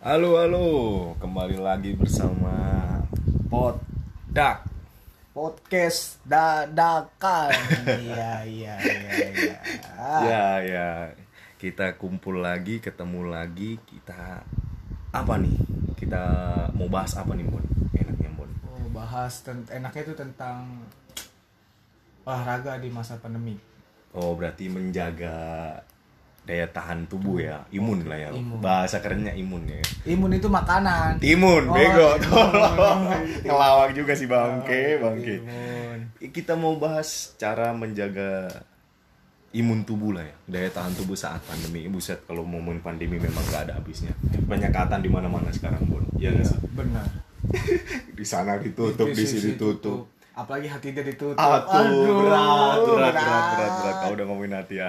Halo halo, kembali lagi bersama Podak. podcast dadakan iya iya iya iya Ya ya, kita kumpul lagi, ketemu lagi, kita apa nih? Kita mau bahas apa nih, Bon? Enaknya, Bon. oh, bahas ten- enaknya itu tentang olahraga di masa pandemi Oh, berarti menjaga daya tahan tubuh ya, imun lah ya. Imun. Bahasa kerennya imun ya. imun itu makanan Timun, Oh, bego, timun. tolong. Ngelawak juga sih bangke, Oh, bangke. timun. Kita mau bahas cara menjaga imun tubuh lah ya, daya tahan tubuh saat pandemi. Buset, kalau momen pandemi memang nggak ada habisnya. Penyekatan di mana-mana sekarang, Bun. Iya nggak sih? benar Di sana ditutup, di sini tutup. apalagi hati dia ditutup Aduh, berat, berat, berat, berat. berat, berat. Kau udah ngomongin hati ya.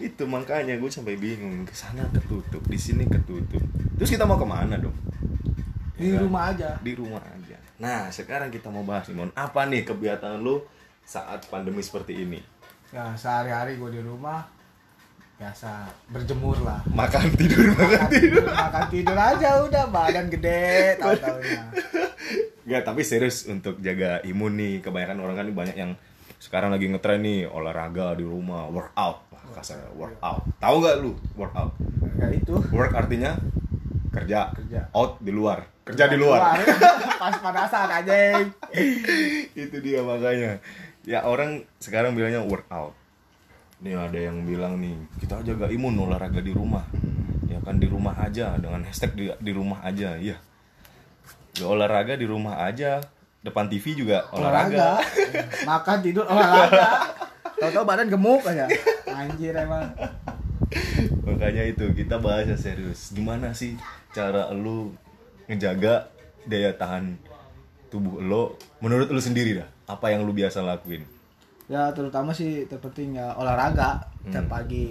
Itu makanya gue sampai bingung. Ke sana ketutup, di sini ketutup. Terus kita mau kemana dong? di Ya kan? rumah aja di rumah aja. Nah, sekarang kita mau bahas Simon, apa nih kebiasaan lu saat pandemi seperti ini? ya sehari-hari gue di rumah biasa berjemur lah Makan tidur makan. makan tidur makan tidur aja udah badan gede tahu-taunya Gak, tapi serius untuk jaga imun nih. Kebanyakan orang kan banyak yang sekarang lagi ngetren nih olahraga di rumah, workout. Wah, kasar workout. Tahu nggak lu workout? ya itu Work artinya kerja. Kerja. Out di luar. Kerja di luar. pas panasan aja itu dia makanya ya orang sekarang bilangnya workout nih ada yang bilang nih kita jaga imun olahraga di rumah ya kan di rumah aja dengan hashtag di, di rumah aja iya ya olahraga di rumah aja depan TV juga olahraga, olahraga makan tidur olahraga tau-tau badan gemuk aja anjir emang makanya itu kita bahasnya serius gimana sih cara lu ngejaga daya tahan tubuh lo menurut lu sendiri dah apa yang lu biasa lakuin ya terutama sih terpenting ya olahraga tiap Hmm. pagi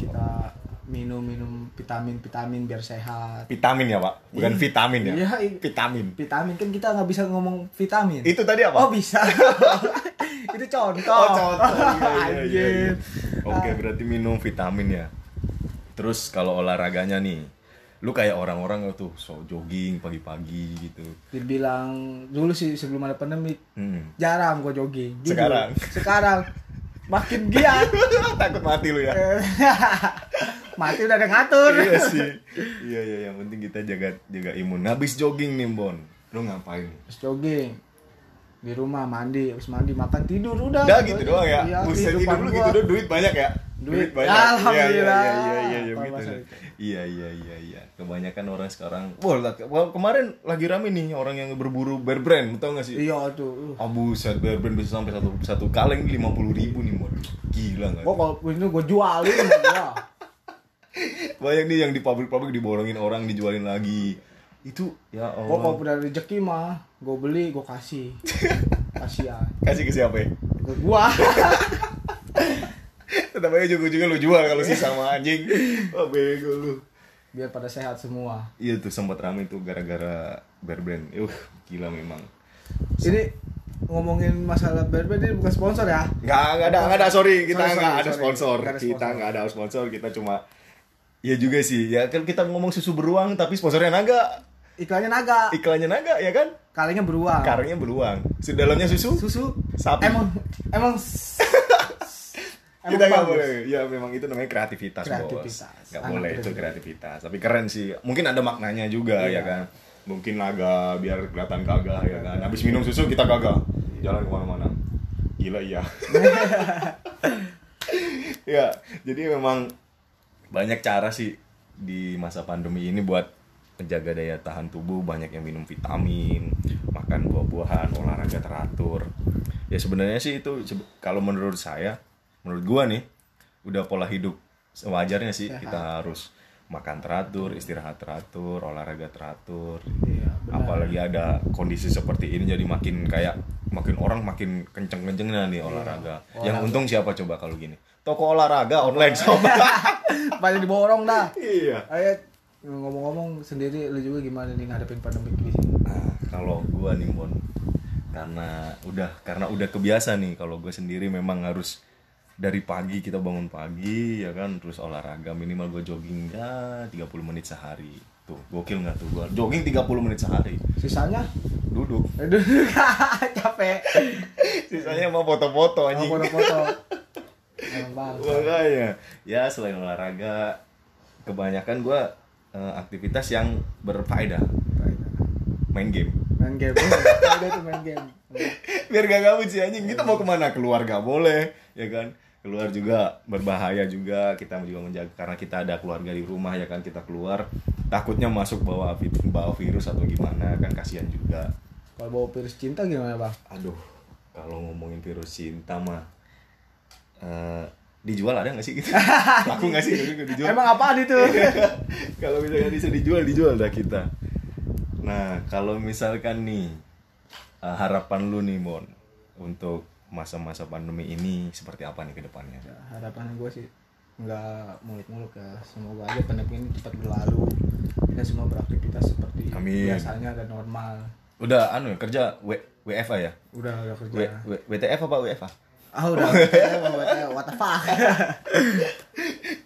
kita minum-minum vitamin-vitamin biar sehat vitamin ya pak bukan Iya. vitamin ya Iya, iya. vitamin vitamin kan kita nggak bisa ngomong vitamin Itu tadi apa? oh bisa itu contoh Oh, contoh. Iya, iya, iya, iya. anjir Oke, berarti minum vitamin ya. Terus kalau olahraganya nih, lu kayak orang-orang tuh so jogging pagi-pagi gitu. dibilang dulu sih sebelum ada pandemi Hmm. jarang gue jogging jujur. Sekarang? sekarang makin giat Takut mati lu ya. mati udah ada ngatur iya sih. Iya iya yang penting kita jaga jaga imun. Habis jogging nih, Bon. Lu ngapain? terus jogging di rumah mandi habis mandi makan tidur udah Udah gitu doang ya. Iya, Buset kehidupan hidup lu gua. gitu doang duit banyak ya. Duit. banyak. Iya iya Alhamdulillah. iya iya iya Apa gitu masa dah. itu? Iya iya iya iya. Kebanyakan orang sekarang, wah lah, kemarin lagi rame nih orang yang berburu bear brand, tau gak sih? iya tuh Oh buset, bear brand bisa sampai satu satu kaleng lima puluh ribu nih mod. Gila nggak? gue kalau ini gue jualin sama gua. Banyak nih yang di pabrik-pabrik diborongin orang dijualin lagi. Itu ya Gua kalau Allah. udah rezeki mah gue beli gue kasih kasihan Kasih ke siapa ya? ke gua Tetap aja juga lu jual kalau sih sama anjing. Oh bego lu. biar pada sehat semua Iya tuh sempat rame tuh gara-gara bear brand. Uh, gila memang. ini ngomongin masalah Batman ini bukan sponsor ya Nggak, nggak ada, nggak ada, sorry, kita Sorry, sorry, nggak ada sorry. sponsor. Nggak ada Kita sponsor. nggak ada sponsor, kita cuma Iya juga sih, ya kan kita ngomong susu beruang tapi sponsornya naga, iklannya naga iklannya naga ya kan? kalengnya beruang Karangnya beruang. Sudah dalamnya susu? susu Sapi. emang emang s- emang kita nggak bagus. boleh. Ya memang itu namanya kreativitas, Kreativitas. bos. Nggak Anak boleh itu kreativitas. kreativitas. Tapi keren sih. Mungkin ada maknanya juga ya Iya. kan. Mungkin naga biar kelihatan gagah ya kan. Habis minum susu kita gagah. Jalan kemana-mana. Gila iya. ya, jadi memang banyak cara sih di masa pandemi ini buat menjaga daya tahan tubuh banyak yang minum vitamin makan buah-buahan olahraga teratur ya sebenarnya sih itu sebe- kalau menurut saya menurut gua nih udah pola hidup sewajarnya sih kita harus makan teratur istirahat teratur olahraga teratur Iya, benar. apalagi ada kondisi seperti ini jadi makin kayak makin orang makin kenceng-kencengnya Iya. nih olahraga yang untung siapa coba kalau gini toko olahraga online sobat banyak diborong dah iya ayo ngomong-ngomong sendiri lu juga gimana nih ngadepin pandemi ini Nah, kalau gua nih Mon karena udah karena udah kebiasa nih kalau gue sendiri memang harus dari pagi kita bangun pagi ya kan terus olahraga minimal gue jogging ya 30 menit sehari tuh gokil nggak tuh gue jogging 30 menit sehari Sisanya duduk aduh capek. sisanya mau foto-foto Mau anjing foto-foto. Emang bangsa. makanya ya selain olahraga kebanyakan gue aktivitas yang berfaedah main game Main game. Udah tuh main game. biar gak gabut sih anjing kita mau kemana keluar gak boleh ya kan keluar juga berbahaya juga kita juga menjaga karena kita ada keluarga di rumah ya kan kita keluar takutnya masuk bawa vi- bawa virus atau gimana kan kasihan juga Kalau bawa virus cinta gimana, Bang? aduh kalau ngomongin virus cinta mah eh, dijual ada nggak sih gitu laku nggak sih gitu, dijual Emang apaan itu? Iya. kalau misalkan bisa dijual dijual dah kita nah kalau misalkan nih eh, harapan lu nih mon untuk masa-masa pandemi ini seperti apa nih ke depannya Ya, harapan gue sih nggak muluk-muluk ya semoga aja pandemi ini cepat berlalu kita semua beraktivitas seperti Amin. biasanya dan normal udah anu ya kerja w WFA ya udah udah kerja W, W- WTF apa WFA ah udah WTF, WTF, what the fuck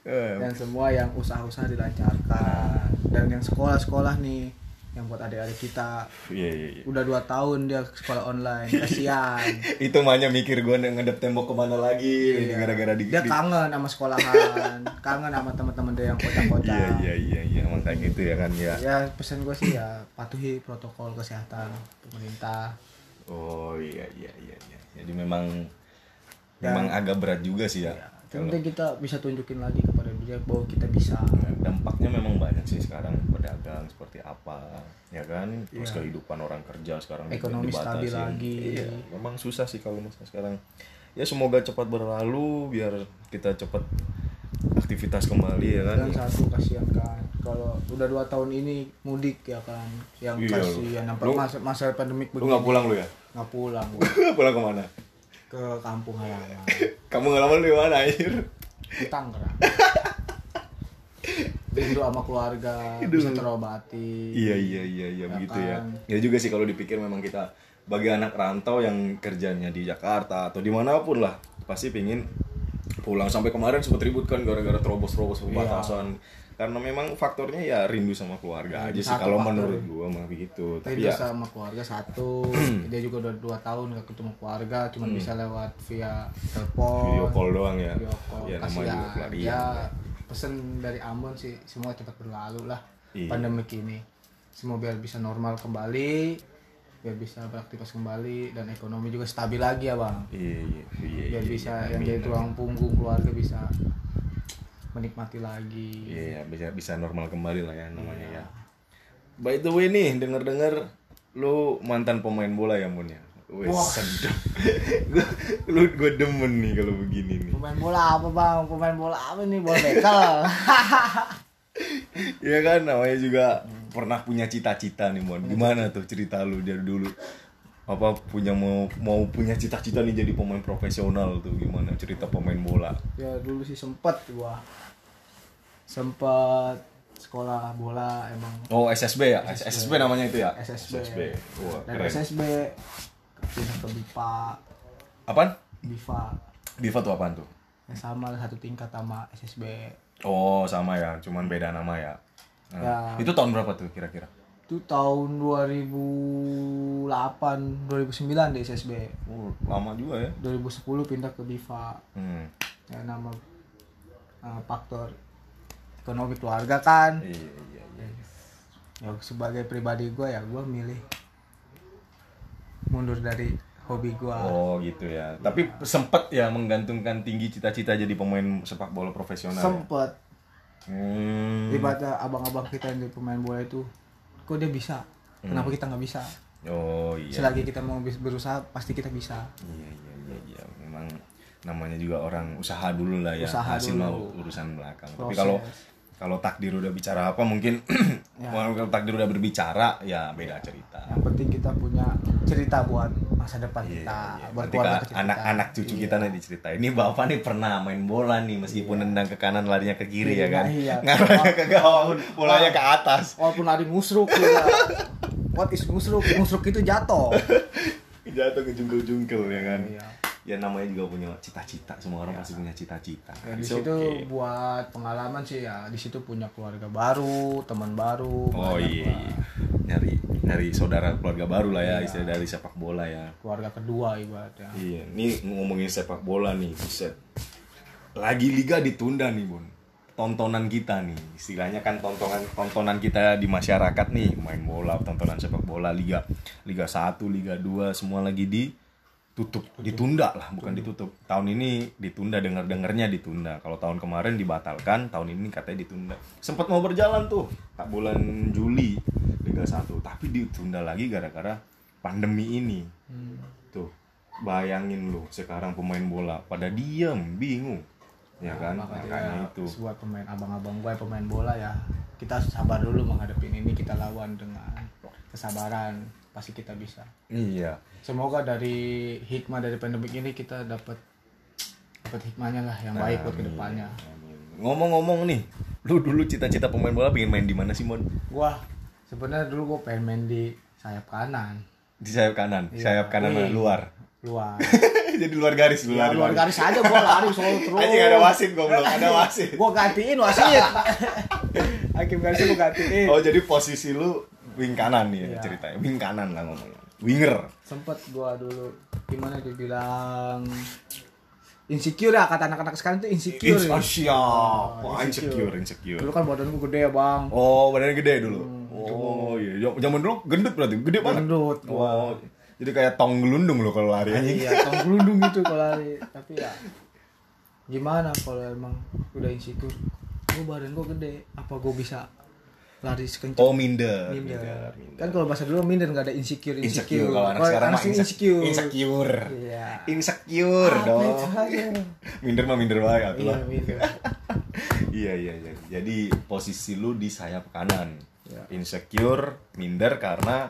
Eh, dan semua yang usaha-usaha dilancarkan dan yang sekolah-sekolah nih yang buat adik-adik kita iya iya iya udah dua tahun dia sekolah online kasihan itu mahnya mikir gue ngedep tembok kemana lagi ini Iya, gara-gara di, dia di- kangen sama sekolahan kangen sama teman-teman dia yang kocak-kocak iya iya iya iya emang kayak gitu ya kan ya ya pesan gue sih ya patuhi protokol kesehatan pemerintah oh iya iya iya iya jadi memang memang agak berat juga sih ya, ya Kalau- penting kita bisa tunjukin lagi kepada dia bahwa kita bisa dampaknya memang banyak sih sekarang pedagang seperti apa ya kan terus kehidupan orang kerja sekarang Iya. Ekonomi dibatasin. stabil lagi. iya memang susah sih kalau misalnya sekarang ya semoga cepat berlalu biar kita cepat aktivitas kembali ya kan dan satu kasihan kan kalau udah dua tahun ini mudik ya kan yang Iya, kasihan yang per- lu- masa masa pandemik lu begini nggak pulang lu ya nggak pulang gua. pulang kemana ke kampung halaman kamu ngalaman lu di mana akhir di Tangerang rindu sama keluarga bisa terobati iya iya iya iya Ya begitu ya kan. ya juga sih kalau dipikir memang kita bagi anak rantau yang kerjanya di Jakarta atau dimanapun lah pasti pingin pulang sampai kemarin sempat ribut kan gara-gara terobos-terobos Iya. perbatasan karena memang faktornya ya rindu sama keluarga aja sih Iya, satu kalau faktor. menurut gua mah begitu tapi Rindu ya sama keluarga satu dia juga udah dua tahun gak ketemu keluarga cuman bisa lewat via telepon Hmm. video call doang ya video call. ya nama kasihan juga keluarga ya pesen dari Ambon sih semua cepat berlalu lah Iya. pandemi ini semua biar bisa normal kembali biar bisa beraktivitas kembali dan ekonomi juga stabil lagi ya bang iya iya iya biar iya, bisa iya, yang amin. jadi tulang punggung keluarga bisa menikmati lagi Iya, iya, bisa bisa normal kembali lah ya namanya ya. By the way nih, denger-denger lu mantan pemain bola ya Mun ya. Wes, sedap. Gua lu gue demen nih kalau begini nih. pemain bola apa bang pemain bola apa nih bola bekel Iya kan namanya juga pernah punya cita-cita nih Mon. Gimana tuh cerita lu dari dulu? Apa punya mau mau punya cita-cita nih jadi pemain profesional tuh gimana cerita pemain bola? ya dulu sih sempet gua sempet sekolah bola emang Oh, SSB ya? SSB, namanya itu ya? SSB, Wah, dari keren. SSB pindah ke BIPA Apaan? BIFA Diva tuh apaan tuh? yang sama lah, satu tingkat sama SSB Oh sama ya, cuman beda nama ya. Nah, Ya. Itu tahun berapa tuh kira-kira? itu tahun 2008 2009 di SSB Oh, lama juga ya. 2010 pindah ke BIFA Hmm. ya nama eh, faktor ekonomi keluarga kan Iya iya iya. ya sebagai pribadi gue ya gue milih mundur dari hobi gue Oh gitu ya. Tapi sempet ya menggantungkan tinggi cita-cita jadi pemain sepak bola profesional. ya? sempet Hmm. ibaratnya abang-abang kita yang jadi pemain bola itu kok dia bisa kenapa kita nggak bisa Oh Hmm. iya. selagi kita mau bis- berusaha pasti kita bisa Iya iya iya iya. Memang namanya juga orang usaha dulu lah ya. Usaha Hasil dulu. mau urusan belakang. Tapi Proses. Ya. kalau kalau takdir udah bicara apa mungkin kalau takdir udah berbicara ya beda cerita. yang penting kita punya cerita buat masa depan Iya, kita iya. buat Nanti keluarga ke kecil kita. Iya. anak-anak cucu kita nanti diceritain. Ini bapak nih pernah main bola nih meskipun nendang ke kanan larinya ke kiri ya kan. Iya. Ngarahnya ke gawang, bolanya ke atas. walaupun lari musruk juga what is musruk musruk itu jatuh Jatuh ke jungkel-jungkel ya kan. iya ya namanya juga punya cita-cita semua orang pasti punya cita-cita Ya, di It's situ okay. buat pengalaman sih ya. Di situ punya keluarga baru, teman baru, oh banyak iya, lah. iya. nyari nyari saudara keluarga baru lah ya Iya. istilah dari sepak bola ya keluarga kedua ibaratnya. iya ini ngomongin sepak bola nih buset lagi liga ditunda nih bun tontonan kita nih istilahnya kan tontonan tontonan kita di masyarakat nih main bola tontonan sepak bola liga liga 1 liga 2 semua lagi ditutup ditunda lah bukan ditutup tahun ini ditunda dengar dengarnya ditunda kalau tahun kemarin dibatalkan tahun ini katanya ditunda sempat mau berjalan tuh tak bulan Juli liga 1 tapi ditunda lagi gara-gara pandemi ini tuh bayangin lu sekarang pemain bola pada diam bingung ya kan makanya Nah, Makanya itu buat pemain abang-abang gue pemain bola ya. Kita sabar dulu menghadapi ini, kita lawan dengan kesabaran. Pasti kita bisa. iya Semoga dari hikmah dari pandemi ini kita dapat dapat hikmahnya lah yang baik buat kedepannya. ngomong-ngomong nih lu dulu cita-cita pemain bola pengen main di mana sih mon Gua sebenarnya dulu gue pengen main di sayap kanan, di sayap kanan sayap kanan mana? Iya. Wih. luar luar. jadi luar garis lu Ya, lari luar garis aja gue lari solo terus. Anjing, ada wasit goblok ada wasit Gue gantiin wasit. Hakim garisnya gue gantiin. oh jadi posisi lu wing kanan ya Iya. ceritanya wing kanan lah ngomongnya winger Sempet gue dulu gimana dibilang insecure ya kata anak-anak sekarang tuh insecure. Ins- oh, siap. Oh, Wah, insecure insecure Dulu kan badan gue gede ya bang. Oh, badannya gede dulu. Oh, iya. Jam- Zaman dulu gendut berarti, gede banget. Hmm, Gendut gua. Wow. Jadi kayak tong gelundung lo kalau lari anjing. Iya, tong gelundung gitu kalau lari. Tapi ya gimana kalau emang udah insecure? Gue badan gue gede, apa gue bisa lari sekencang? Oh, minder. minder. minder, minder. Kan kalau bahasa dulu minder nggak ada insecure Insecure insecure. Oh, kalau anak sekarang mah sih inse- insecure. Insecure. Iya. Insecure Ah, dong. bener aja. minder mah minder banget aku Iya, lah. minder. Iya, iya, iya. Jadi posisi lu di sayap kanan. Iya. Insecure, minder karena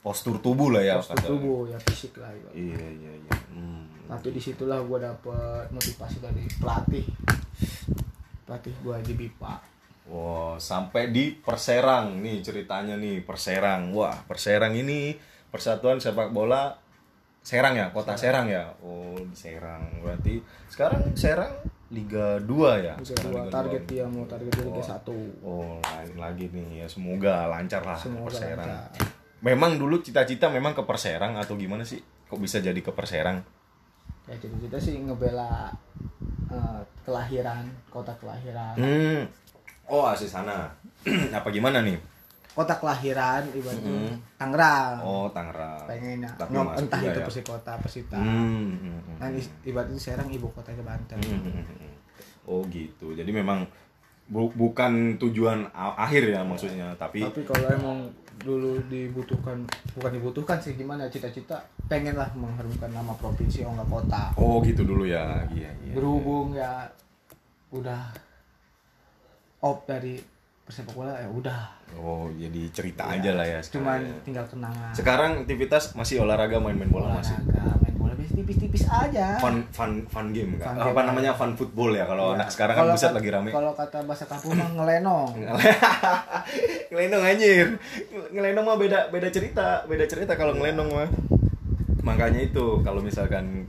postur tubuh lah ya Postur kata- tubuh ya fisik lah. Iba. Iya, iya, iya. Hmm. Tapi disitulah gue dapet motivasi dari pelatih. Pelatih gue di BIPA. Wah, sampai di Perserang nih ceritanya nih Perserang. Wah, Perserang ini Persatuan Sepak Bola Serang ya, Kota Serang, ya. Oh, di Serang. Berarti sekarang Serang Liga 2 ya. Bisa Sekarang dua Liga target dua. dia mau target dia Liga Wah. satu. Oh, lain lagi nih ya. Semoga lancar lah Semoga Perserang. lancar. Memang dulu cita-cita memang ke Perserang atau gimana sih? Kok bisa jadi ke Perserang? Ya cita-cita sih ngebela eh, kelahiran kota kelahiran Hmm. Oh, asli sana. Apa gimana nih? kota kelahiran ibaratnya Tangerang Hmm. Oh, Tangerang. pengennya Tapi Ngom- masuk entah juga itu ya. persikota persita Hmm, hmm, hmm. nah is- ibaratnya Serang ibu kotanya Banten Hmm. Oh gitu. Jadi memang bu- bukan tujuan a- akhir ya maksudnya, tapi tapi kalau emang dulu dibutuhkan bukan dibutuhkan sih gimana cita-cita pengen lah mengharumkan nama provinsi oh enggak kota oh gitu dulu ya. Iya, iya. berhubung ya udah op dari persepak bola ya udah Oh, jadi cerita aja lah ya sekarang. Iya. cuman Iya. ya. tinggal kenangan Sekarang aktivitas masih olahraga main-main bola masih. olahraga main bola biasa tipis-tipis aja Fun fun fun game kan. Fun Apa game. Iya. namanya fun football ya kalau anak sekarang kan Kalau buset kat- lagi rame. kalau kata bahasa kampung mah ngelenong ngelenong anjir ngelenong mah beda beda cerita beda cerita kalau ngelenong mah Iya. makanya itu kalau misalkan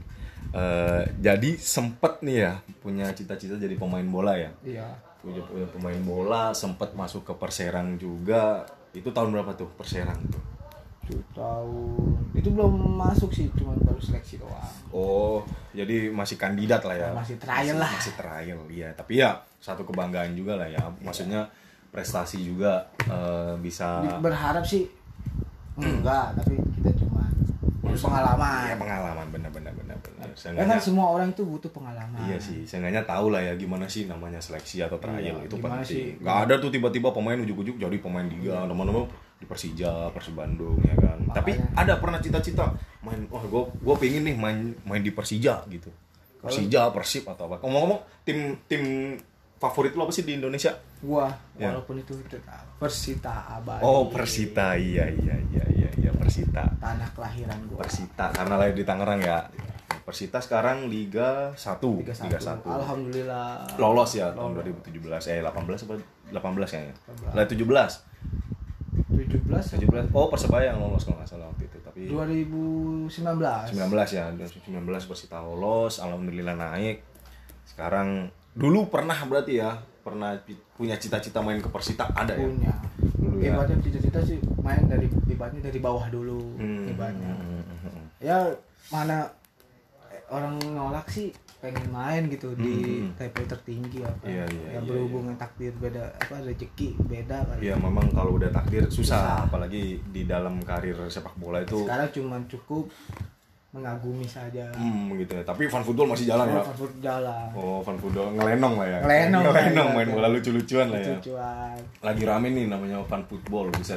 eh, jadi sempet nih ya punya cita-cita jadi pemain bola ya iya punya, punya pemain bola sempet masuk ke Perserang juga itu tahun berapa tuh Perserang tuh itu tahun itu belum masuk sih cuma baru seleksi doang Oh, jadi masih kandidat lah ya. Masih trial lah. Masih trial, iya. Tapi ya satu kebanggaan juga lah ya. Maksudnya prestasi juga eh, bisa berharap sih enggak tapi kita cuma butuh pengalaman Iya pengalaman benar benar benar benar. ya Seenggaknya kan semua orang itu butuh pengalaman iya sih, seenggaknya tahu lah ya gimana sih namanya seleksi atau trial Iya, itu gimana sih? Iya. penting. Gak ada tuh tiba-tiba pemain ujuk-ujuk jadi pemain liga, teman-teman di Persija, Persib Bandung ya kan. Tapi ada pernah cita-cita main wah gua gua pengen nih main main di Persija gitu. Persija, Persib atau apa. Ngomong-ngomong tim tim favorit lo apa sih di Indonesia? gua Iya. walaupun itu tetap Persita Abadi Oh, Persita. Iya iya iya iya iya Persita. tanah kelahiran gua Persita karena lahir di Tangerang ya. Persita sekarang Liga 1. Liga 31. alhamdulillah Lolos ya tahun 2017. Eh 18 apa 18 kayaknya. Lah 17. 17 ya? 17. Oh, Persebaya yang lolos kalau nggak salah waktu itu. Tapi Iya. 2019 19 ya 2019 Persita lolos alhamdulillah naik sekarang dulu pernah berarti ya pernah pi- punya cita-cita main ke Persita ada ya punya Dulu ya. ibaratnya cita-cita sih main dari ibaratnya dari bawah dulu Hmm. ibaratnya ya mana eh, orang nolak sih pengen main gitu di level tertinggi apa Hmm. Iya, iya, ya iya, berhubung takdir beda apa rezeki beda kan. kali Iya memang kalau udah takdir susah apalagi di dalam karir sepak bola itu sekarang cuman cukup mengagumi saja hmm, gitu ya tapi fan football masih jalan ya Frankfurt jalan oh fan football ngelenong lah ya Ngelenong. iya, main bola lucu-lucuan lah ya cuan lagi rame nih namanya fan football bisa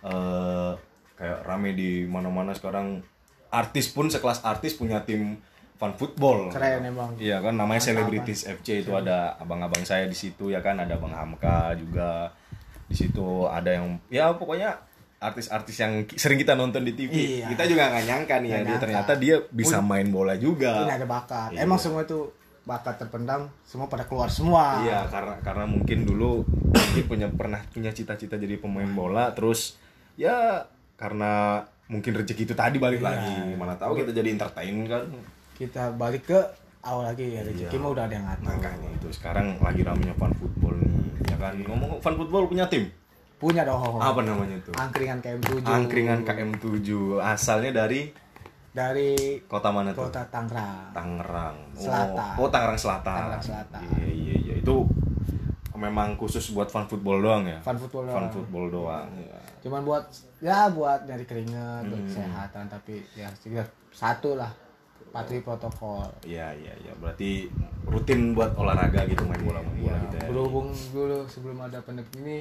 eh kayak rame di mana-mana sekarang artis pun sekelas artis punya tim fan football keren emang Iya kan namanya selebritis FC itu ada abang-abang saya di situ ya kan ada Bang Hamka juga di situ ada yang ya pokoknya artis-artis yang ki- sering kita nonton di TV. Iya. Kita juga nggak nyangka nih ya Nggak dia nyangka. ternyata dia bisa main bola ini juga. ada bakat Iya. emang semua itu bakat terpendam semua pada keluar semua Iya karena karena mungkin dulu mungkin punya pernah punya cita-cita jadi pemain bola terus ya karena mungkin rezeki itu tadi balik lagi Iya. mana tahu kita jadi entertain kan kita balik ke awal lagi ya Iya. rezeki mah udah ada yang kan. ngatur makanya itu sekarang lagi ramenya fan football nih ya kan ngomong fan football punya tim punya dong apa namanya tuh angkringan KM7 angkringan KM7 asalnya dari dari kota mana tuh kota Tangerang Tangerang Oh, Selatan. oh, Tangerang Selatan Tangerang Selatan. iya iya iya itu memang khusus buat fan football doang ya Fan football Fan doang. football doang Iya. cuman buat ya buat nyari keringet Hmm. buat kesehatan tapi ya sudah satu lah patuhi protokol iya iya iya berarti rutin buat olahraga gitu main bola main bola gitu ya Iya, berhubung dulu sebelum ada pandemi ini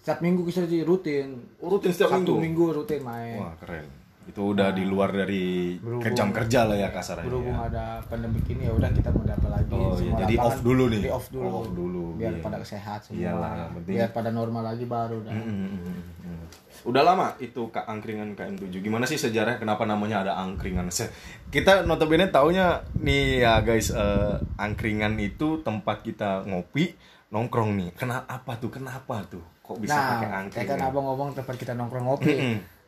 setiap minggu kita jadi rutin Oh, rutin setiap satu minggu minggu rutin main wah keren itu udah di luar dari ke jam kerja lah ya kasarnya berhubung ya. ada pandemi ini ya udah kita mau dapat lagi Oh, iya. Jadi lapangan, off dulu nih. jadi off dulu, Off dulu, biar iya. pada sehat semua Iyalah, yang penting- biar pada normal lagi baru dah Mm, mm, mm, mm. Udah lama itu Kak Angkringan KM7. Gimana sih sejarah kenapa namanya ada angkringan? Se- Kita notabene taunya nih ya guys, eh, angkringan itu tempat kita ngopi, nongkrong nih. Kenapa apa tuh? Kenapa tuh? Kok bisa nah pakai kayak kan angkringan? abang ngomong tempat kita nongkrong ngopi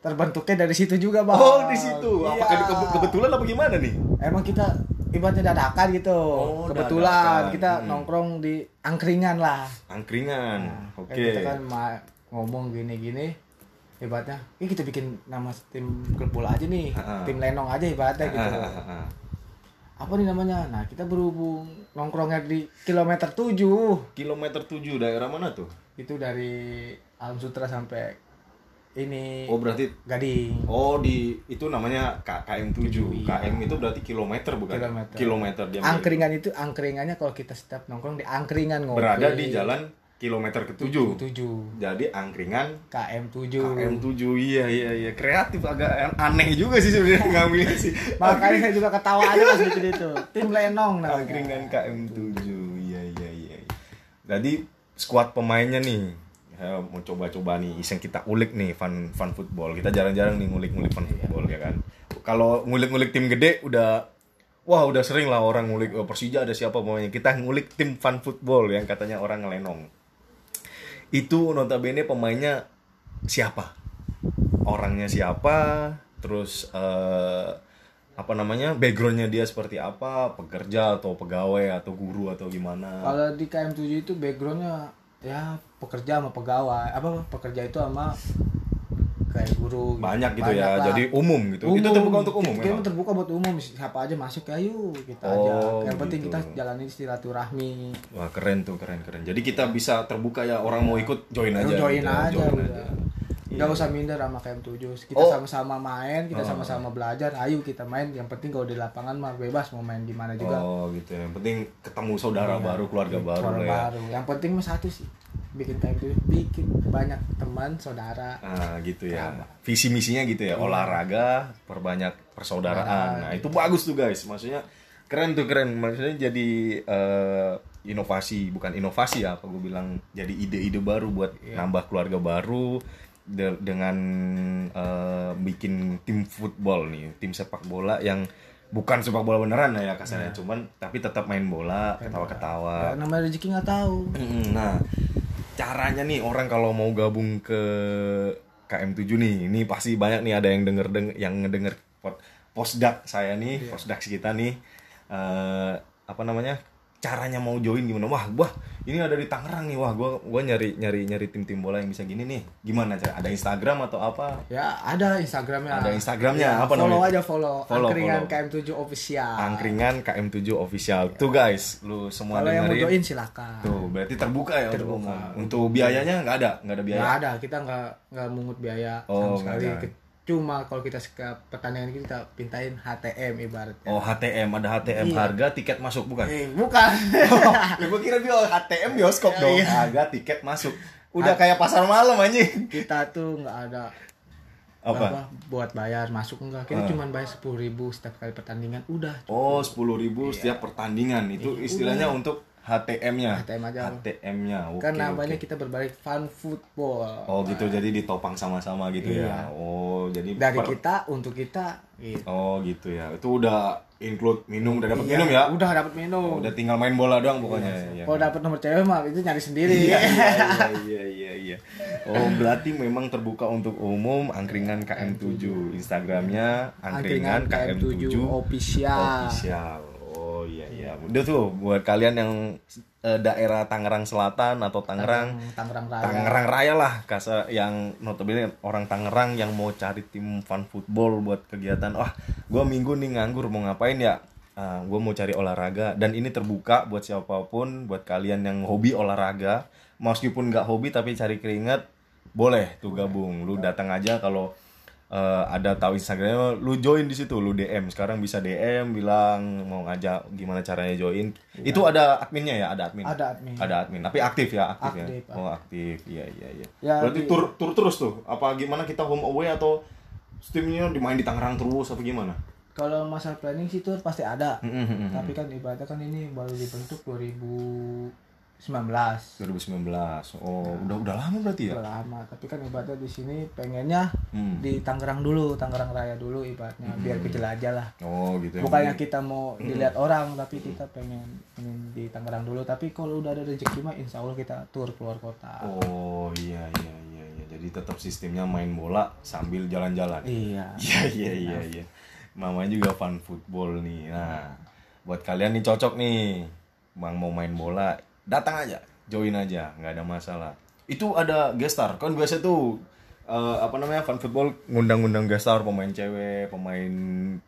terbentuknya dari situ juga bang Oh, di situ. Iya. Apakah di kebe- kebetulan apa gimana nih? emang kita ibaratnya dadakan gitu Oh, kebetulan dadakan. kita Mm. nongkrong di angkringan lah Angkringan. Kayak Hmm, Oke. kita kan ma- ngomong gini-gini ibaratnya ini kita bikin nama tim klub bola aja nih Ha-ha. tim lenong aja ibaratnya gitu Ah, ah, ah, ah. apa nih namanya nah kita berhubung nongkrongnya di kilometer 7 Kilometer 7 daerah mana tuh? itu dari Alam Sutra sampai ini Oh, berarti Gading Oh di itu namanya K- KM7. KM itu berarti kilometer bukan? Iya. Kilometer. dia menghitung. angkringan itu angkringannya kalau kita setiap nongkrong di angkringan ngopi berada di jalan kilometer ke-7. 7 Jadi angkringan KM 7 KM7. Iya iya iya, kreatif agak aneh juga sih sebenarnya ngambilnya sih. makanya saya juga ketawa aja pas bikin itu tim lenong namanya Angkringan KM7. Iya iya iya. Jadi skuad pemainnya nih Ya, mau coba-coba nih iseng kita ulik nih fun fun football kita jarang-jarang nih ngulik-ngulik fun football ya kan kalau ngulik-ngulik tim gede udah wah udah sering lah orang ngulik "Oh, Persija ada siapa pemainnya kita ngulik tim fun football yang katanya orang ngelenong itu notabene pemainnya siapa orangnya siapa terus eh, apa namanya backgroundnya dia seperti apa pekerja atau pegawai atau guru atau gimana Kalau di KM7 itu backgroundnya ya pekerja sama pegawai apa pekerja itu sama kayak guru gitu. banyak gitu ya lah. jadi umum gitu itu Umum. terbuka untuk umum kita memang? terbuka buat umum siapa aja masuk ya yuk kita Oh, aja yang gitu. penting kita jalanin silaturahmi wah keren tuh keren keren jadi kita bisa terbuka ya orang mau ikut join aja Lu join gitu, aja join udah aja. Nggak usah minder sama KM7 kita Oh. sama-sama main kita sama-sama belajar ayo kita main yang penting kalau di lapangan mah bebas mau main di mana juga Iya. oh gitu ya. yang penting ketemu saudara baru keluarga baru lah Orang ya baru yang penting mah satu sih bikin KM7 bikin banyak teman saudara Ah, gitu ya. Visi misinya gitu ya, olahraga, perbanyak persaudaraan. Nah, itu bagus tuh guys. Maksudnya keren tuh keren. Maksudnya jadi eh, inovasi, bukan inovasi ya, apa gue bilang jadi ide-ide baru buat nambah keluarga baru de- dengan eh, bikin tim football nih, tim sepak bola yang bukan sepak bola beneran lah ya kasarnya, cuman tapi tetap main bola, ketawa-ketawa. Ya, namanya rezeki nggak tahu. Mm, Nah, caranya nih orang kalau mau gabung ke KM7 nih ini pasti banyak nih ada yang denger deng yang ngedenger pod posdak saya Iya. nih posdak kita nih eh apa namanya caranya mau join gimana wah wah ini ada di Tangerang nih wah gua gua nyari nyari nyari tim tim bola yang bisa gini nih gimana cara ada Instagram atau apa Ya ada Instagramnya. Ya, Ada Instagramnya, apa follow namanya? aja follow. Follow, Angkringan follow. KM7 official. angkringan KM7 official tuh guys lu semua Iya. Kalau yang mau dengerin join silakan. tuh berarti terbuka ya untuk Terbuka. umum. untuk biayanya nggak ada nggak ada biaya Nggak ada, kita nggak nggak mungut biaya Iya, ya. Oh, sama sekali. nggak ada. Ke- Cuma kalau kita ke pertandingan kita pintain HTM ibaratnya. oh HTM ada HTM Iya. harga tiket masuk bukan Eh, bukan. Lah Nah, gua kira bio HTM bioskop dong. Iya. Harga tiket masuk. Udah kayak pasar malam anjing. kita tuh nggak ada Apa? Ah. buat bayar masuk enggak. Kita cuma bayar 10.000 setiap kali pertandingan. Udah. Oh, 10.000 setiap pertandingan. Itu Iya. istilahnya untuk HTM-nya. HTM aja. HTM-nya. Oke. Karena oke. banyak kita berbalik fun football. Oh, gitu. Jadi ditopang sama-sama gitu ya. Oh, jadi Iya. Dari per- kita untuk kita gitu. Oh, gitu ya. Itu udah include minum, udah dapat Iya, minum ya. Udah dapat minum. Udah tinggal main bola doang pokoknya. Iya. Kalau dapat nomor cewek mah itu nyari sendiri. Iya, iya, iya, iya, iya. Oh, berarti memang terbuka untuk umum angkringan KM7. Instagramnya angkringan KM7 official. official. Oh iya iya. Udah tuh buat kalian yang eh, daerah Tangerang Selatan atau Tangerang Hmm, Tangerang Raya. Tangerang Raya lah kasar yang notabene orang Tangerang yang mau cari tim fun football buat kegiatan wah gua minggu nih nganggur mau ngapain ya Ah, gua mau cari olahraga dan ini terbuka buat siapapun buat kalian yang hobi olahraga meskipun nggak hobi tapi cari keringat boleh tuh gabung lu datang aja kalau eh, ada tahu Instagramnya lu join di situ lu DM sekarang bisa DM bilang mau ngajak gimana caranya join itu ada adminnya ya ada admin Iya. Ada admin. ada admin tapi aktif ya aktif, ya? Aktif, oh aktif iya iya iya Ya, berarti di- tur tur terus tuh apa gimana kita home away atau timnya dimain di Tangerang terus apa gimana Kalau masalah planning sih itu pasti ada. Mm, mm, mm, mm. Tapi kan ibaratnya kan ini baru dibentuk 2019. 2019 oh Nah. udah udah lama berarti ya Udah lama, tapi kan ibaratnya di sini pengennya Hmm. di Tangerang dulu, Tangerang Raya dulu ibaratnya biar kejelajah lah. oh gitu ya Bukannya kita mau dilihat orang, tapi kita pengen, pengen di Tangerang dulu. Tapi kalau udah ada rezeki mah insya Allah kita tur keluar kota. oh iya iya iya iya jadi tetap sistemnya main bola sambil jalan-jalan Iya. Iya iya iya iya. Mama juga fan football nih. Nah, buat kalian nih cocok nih. Bang mau main bola, datang aja, join aja, nggak ada masalah. Itu ada gestar, kan biasa tuh eh, apa namanya fan football ngundang-ngundang gestar pemain cewek, pemain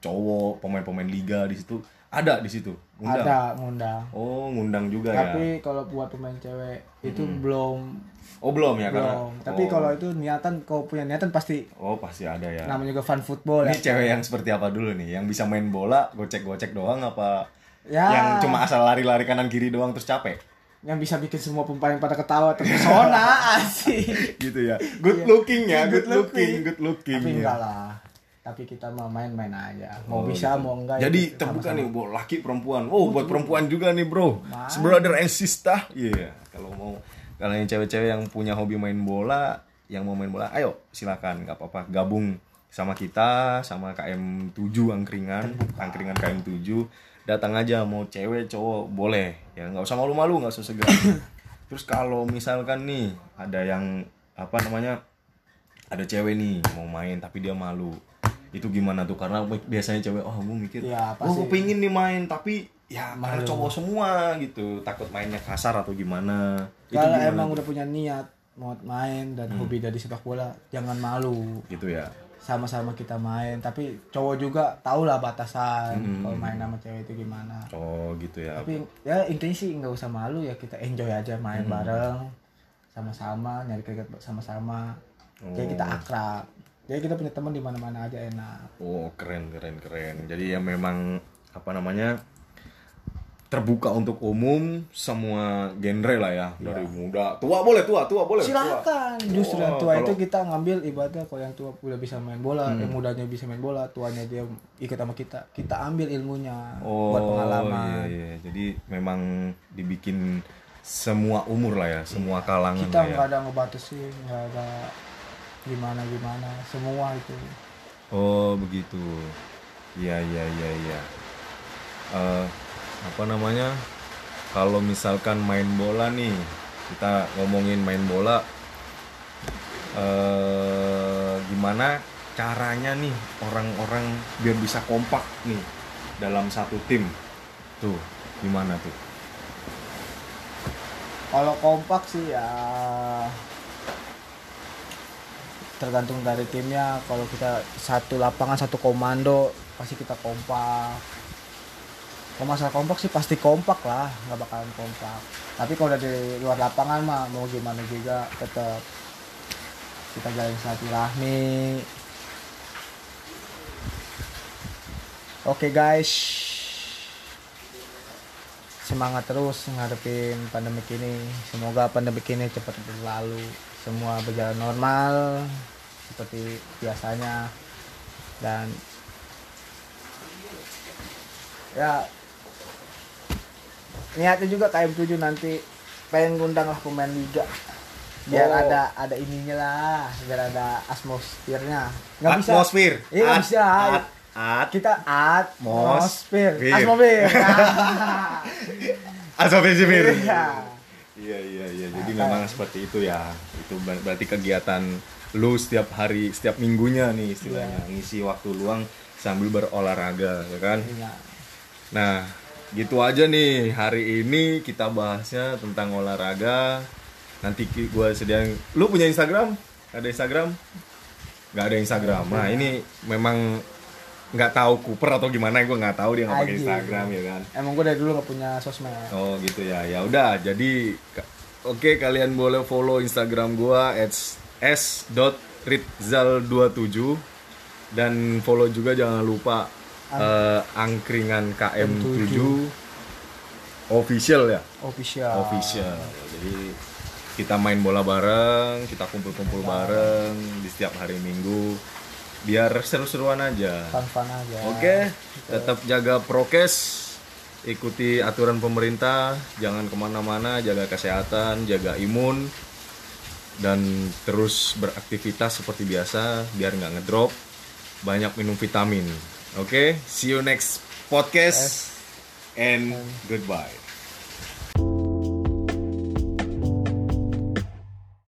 cowok, pemain-pemain liga di situ ada di situ. Ngundang. Ada ngundang. Oh, ngundang juga ya. Tapi kalau buat pemain cewek itu belum Oh, belum ya karena. belum. Tapi oh. kalau itu niatan kau punya niatan pasti Oh, pasti ada ya. namanya juga fun football ya. Ini cewek yang seperti apa dulu nih? Yang bisa main bola, gocek-gocek doang apa? Ya. Yang cuma asal lari-lari kanan kiri doang terus capek? Yang bisa bikin semua pemain pada ketawa terpesona asik. Iya. Gitu ya. Good looking ya, good, looking, good looking. ya. Tapi enggak lah. Tapi kita mau main-main aja. Mau bisa mau Oh, enggak. gitu. Jadi ya, terbuka nih buat laki perempuan. Oh, buat perempuan juga nih, Bro. Brother and sister. Iya, kalau mau kalau yang cewek-cewek yang punya hobi main bola, yang mau main bola, ayo silakan nggak apa-apa gabung sama kita sama KM7 angkringan, angkringan KM7. Datang aja mau cewek cowok boleh. Ya nggak usah malu-malu, nggak usah segan. Terus kalau misalkan nih ada yang apa namanya ada cewek nih mau main tapi dia malu itu gimana tuh karena biasanya cewek oh gue mikir Ya, oh gue pasti. pingin nih main tapi ya karena cowok semua gitu takut mainnya kasar atau gimana itu Kalau gimana Hmm. emang udah punya niat mau main dan hobi dari sepak bola, jangan malu. gitu ya Sama-sama kita main, tapi cowok juga tau lah batasan Hmm. kalau main sama cewek itu gimana. oh gitu ya Tapi ya intinya sih nggak usah malu ya kita enjoy aja main Hmm. bareng sama-sama nyari keringat sama-sama. Jadi kita akrab. Jadi kita punya teman di mana-mana aja enak. oh keren keren keren jadi ya memang apa namanya terbuka untuk umum semua genre lah ya Iya. dari muda tua boleh tua tua boleh tua. silakan justru Wah, yang tua kalau- Hmm. itu kita ngambil ibaratnya kalau yang tua udah bisa main bola yang mudanya bisa main bola tuanya dia ikut sama kita kita ambil ilmunya buat pengalaman Oh, Iya, iya. Jadi memang dibikin semua umur lah ya, semua kalangan kita lah ya. nggak ada ngebatasin nggak ada gimana gimana semua itu Oh begitu. Iya iya iya iya. Eh, apa namanya? Kalau misalkan main bola nih, kita ngomongin main bola. Eh gimana caranya nih orang-orang biar bisa kompak nih dalam satu tim tuh gimana tuh kalau kompak sih ya tergantung dari timnya kalau kita satu lapangan satu komando pasti kita kompak kalau masalah kompak sih pasti kompak lah nggak bakalan kompak tapi kalau dari luar lapangan mah mau gimana juga tetap kita jalin silaturahmi oke guys semangat terus ngadepin pandemi ini semoga pandemi ini cepat berlalu semua berjalan normal seperti biasanya dan ya niatnya juga KM7 nanti pengen ngundang lah pemain liga biar Oh. ada ada ininya lah biar ada atmosfernya nggak bisa atmosfer iya nggak At- bisa at- at- kita atmosfer Mosfir. atmosfer Asofir Zimir. Iya. Iya iya iya. Jadi memang seperti itu ya. Itu ber- berarti kegiatan lu setiap hari, setiap minggunya nih Iya. istilahnya ngisi waktu luang sambil berolahraga ya kan. Iya. Nah, gitu aja nih hari ini kita bahasnya tentang olahraga. Nanti ki- gua sediain lu punya Instagram? Ada Instagram? nggak ada Instagram. Nah, ini memang nggak tahu Cooper atau gimana gua nggak tahu dia nggak pakai Aji. Instagram ya kan. emang gue dari dulu nggak punya sosmed Oh gitu ya. Ya udah. Jadi ka- oke kalian boleh follow Instagram gua @s.ritzal27 dan follow juga jangan lupa eh, angkringan KM7 official ya. official Official. Jadi kita main bola bareng, kita kumpul-kumpul bareng di setiap hari Minggu biar seru-seruan aja. fun fun aja Oke, tetap jaga prokes, ikuti aturan pemerintah, jangan kemana-mana, jaga kesehatan, jaga imun, dan terus beraktivitas seperti biasa, biar nggak ngedrop, banyak minum vitamin. Oke, see you next podcast, and goodbye.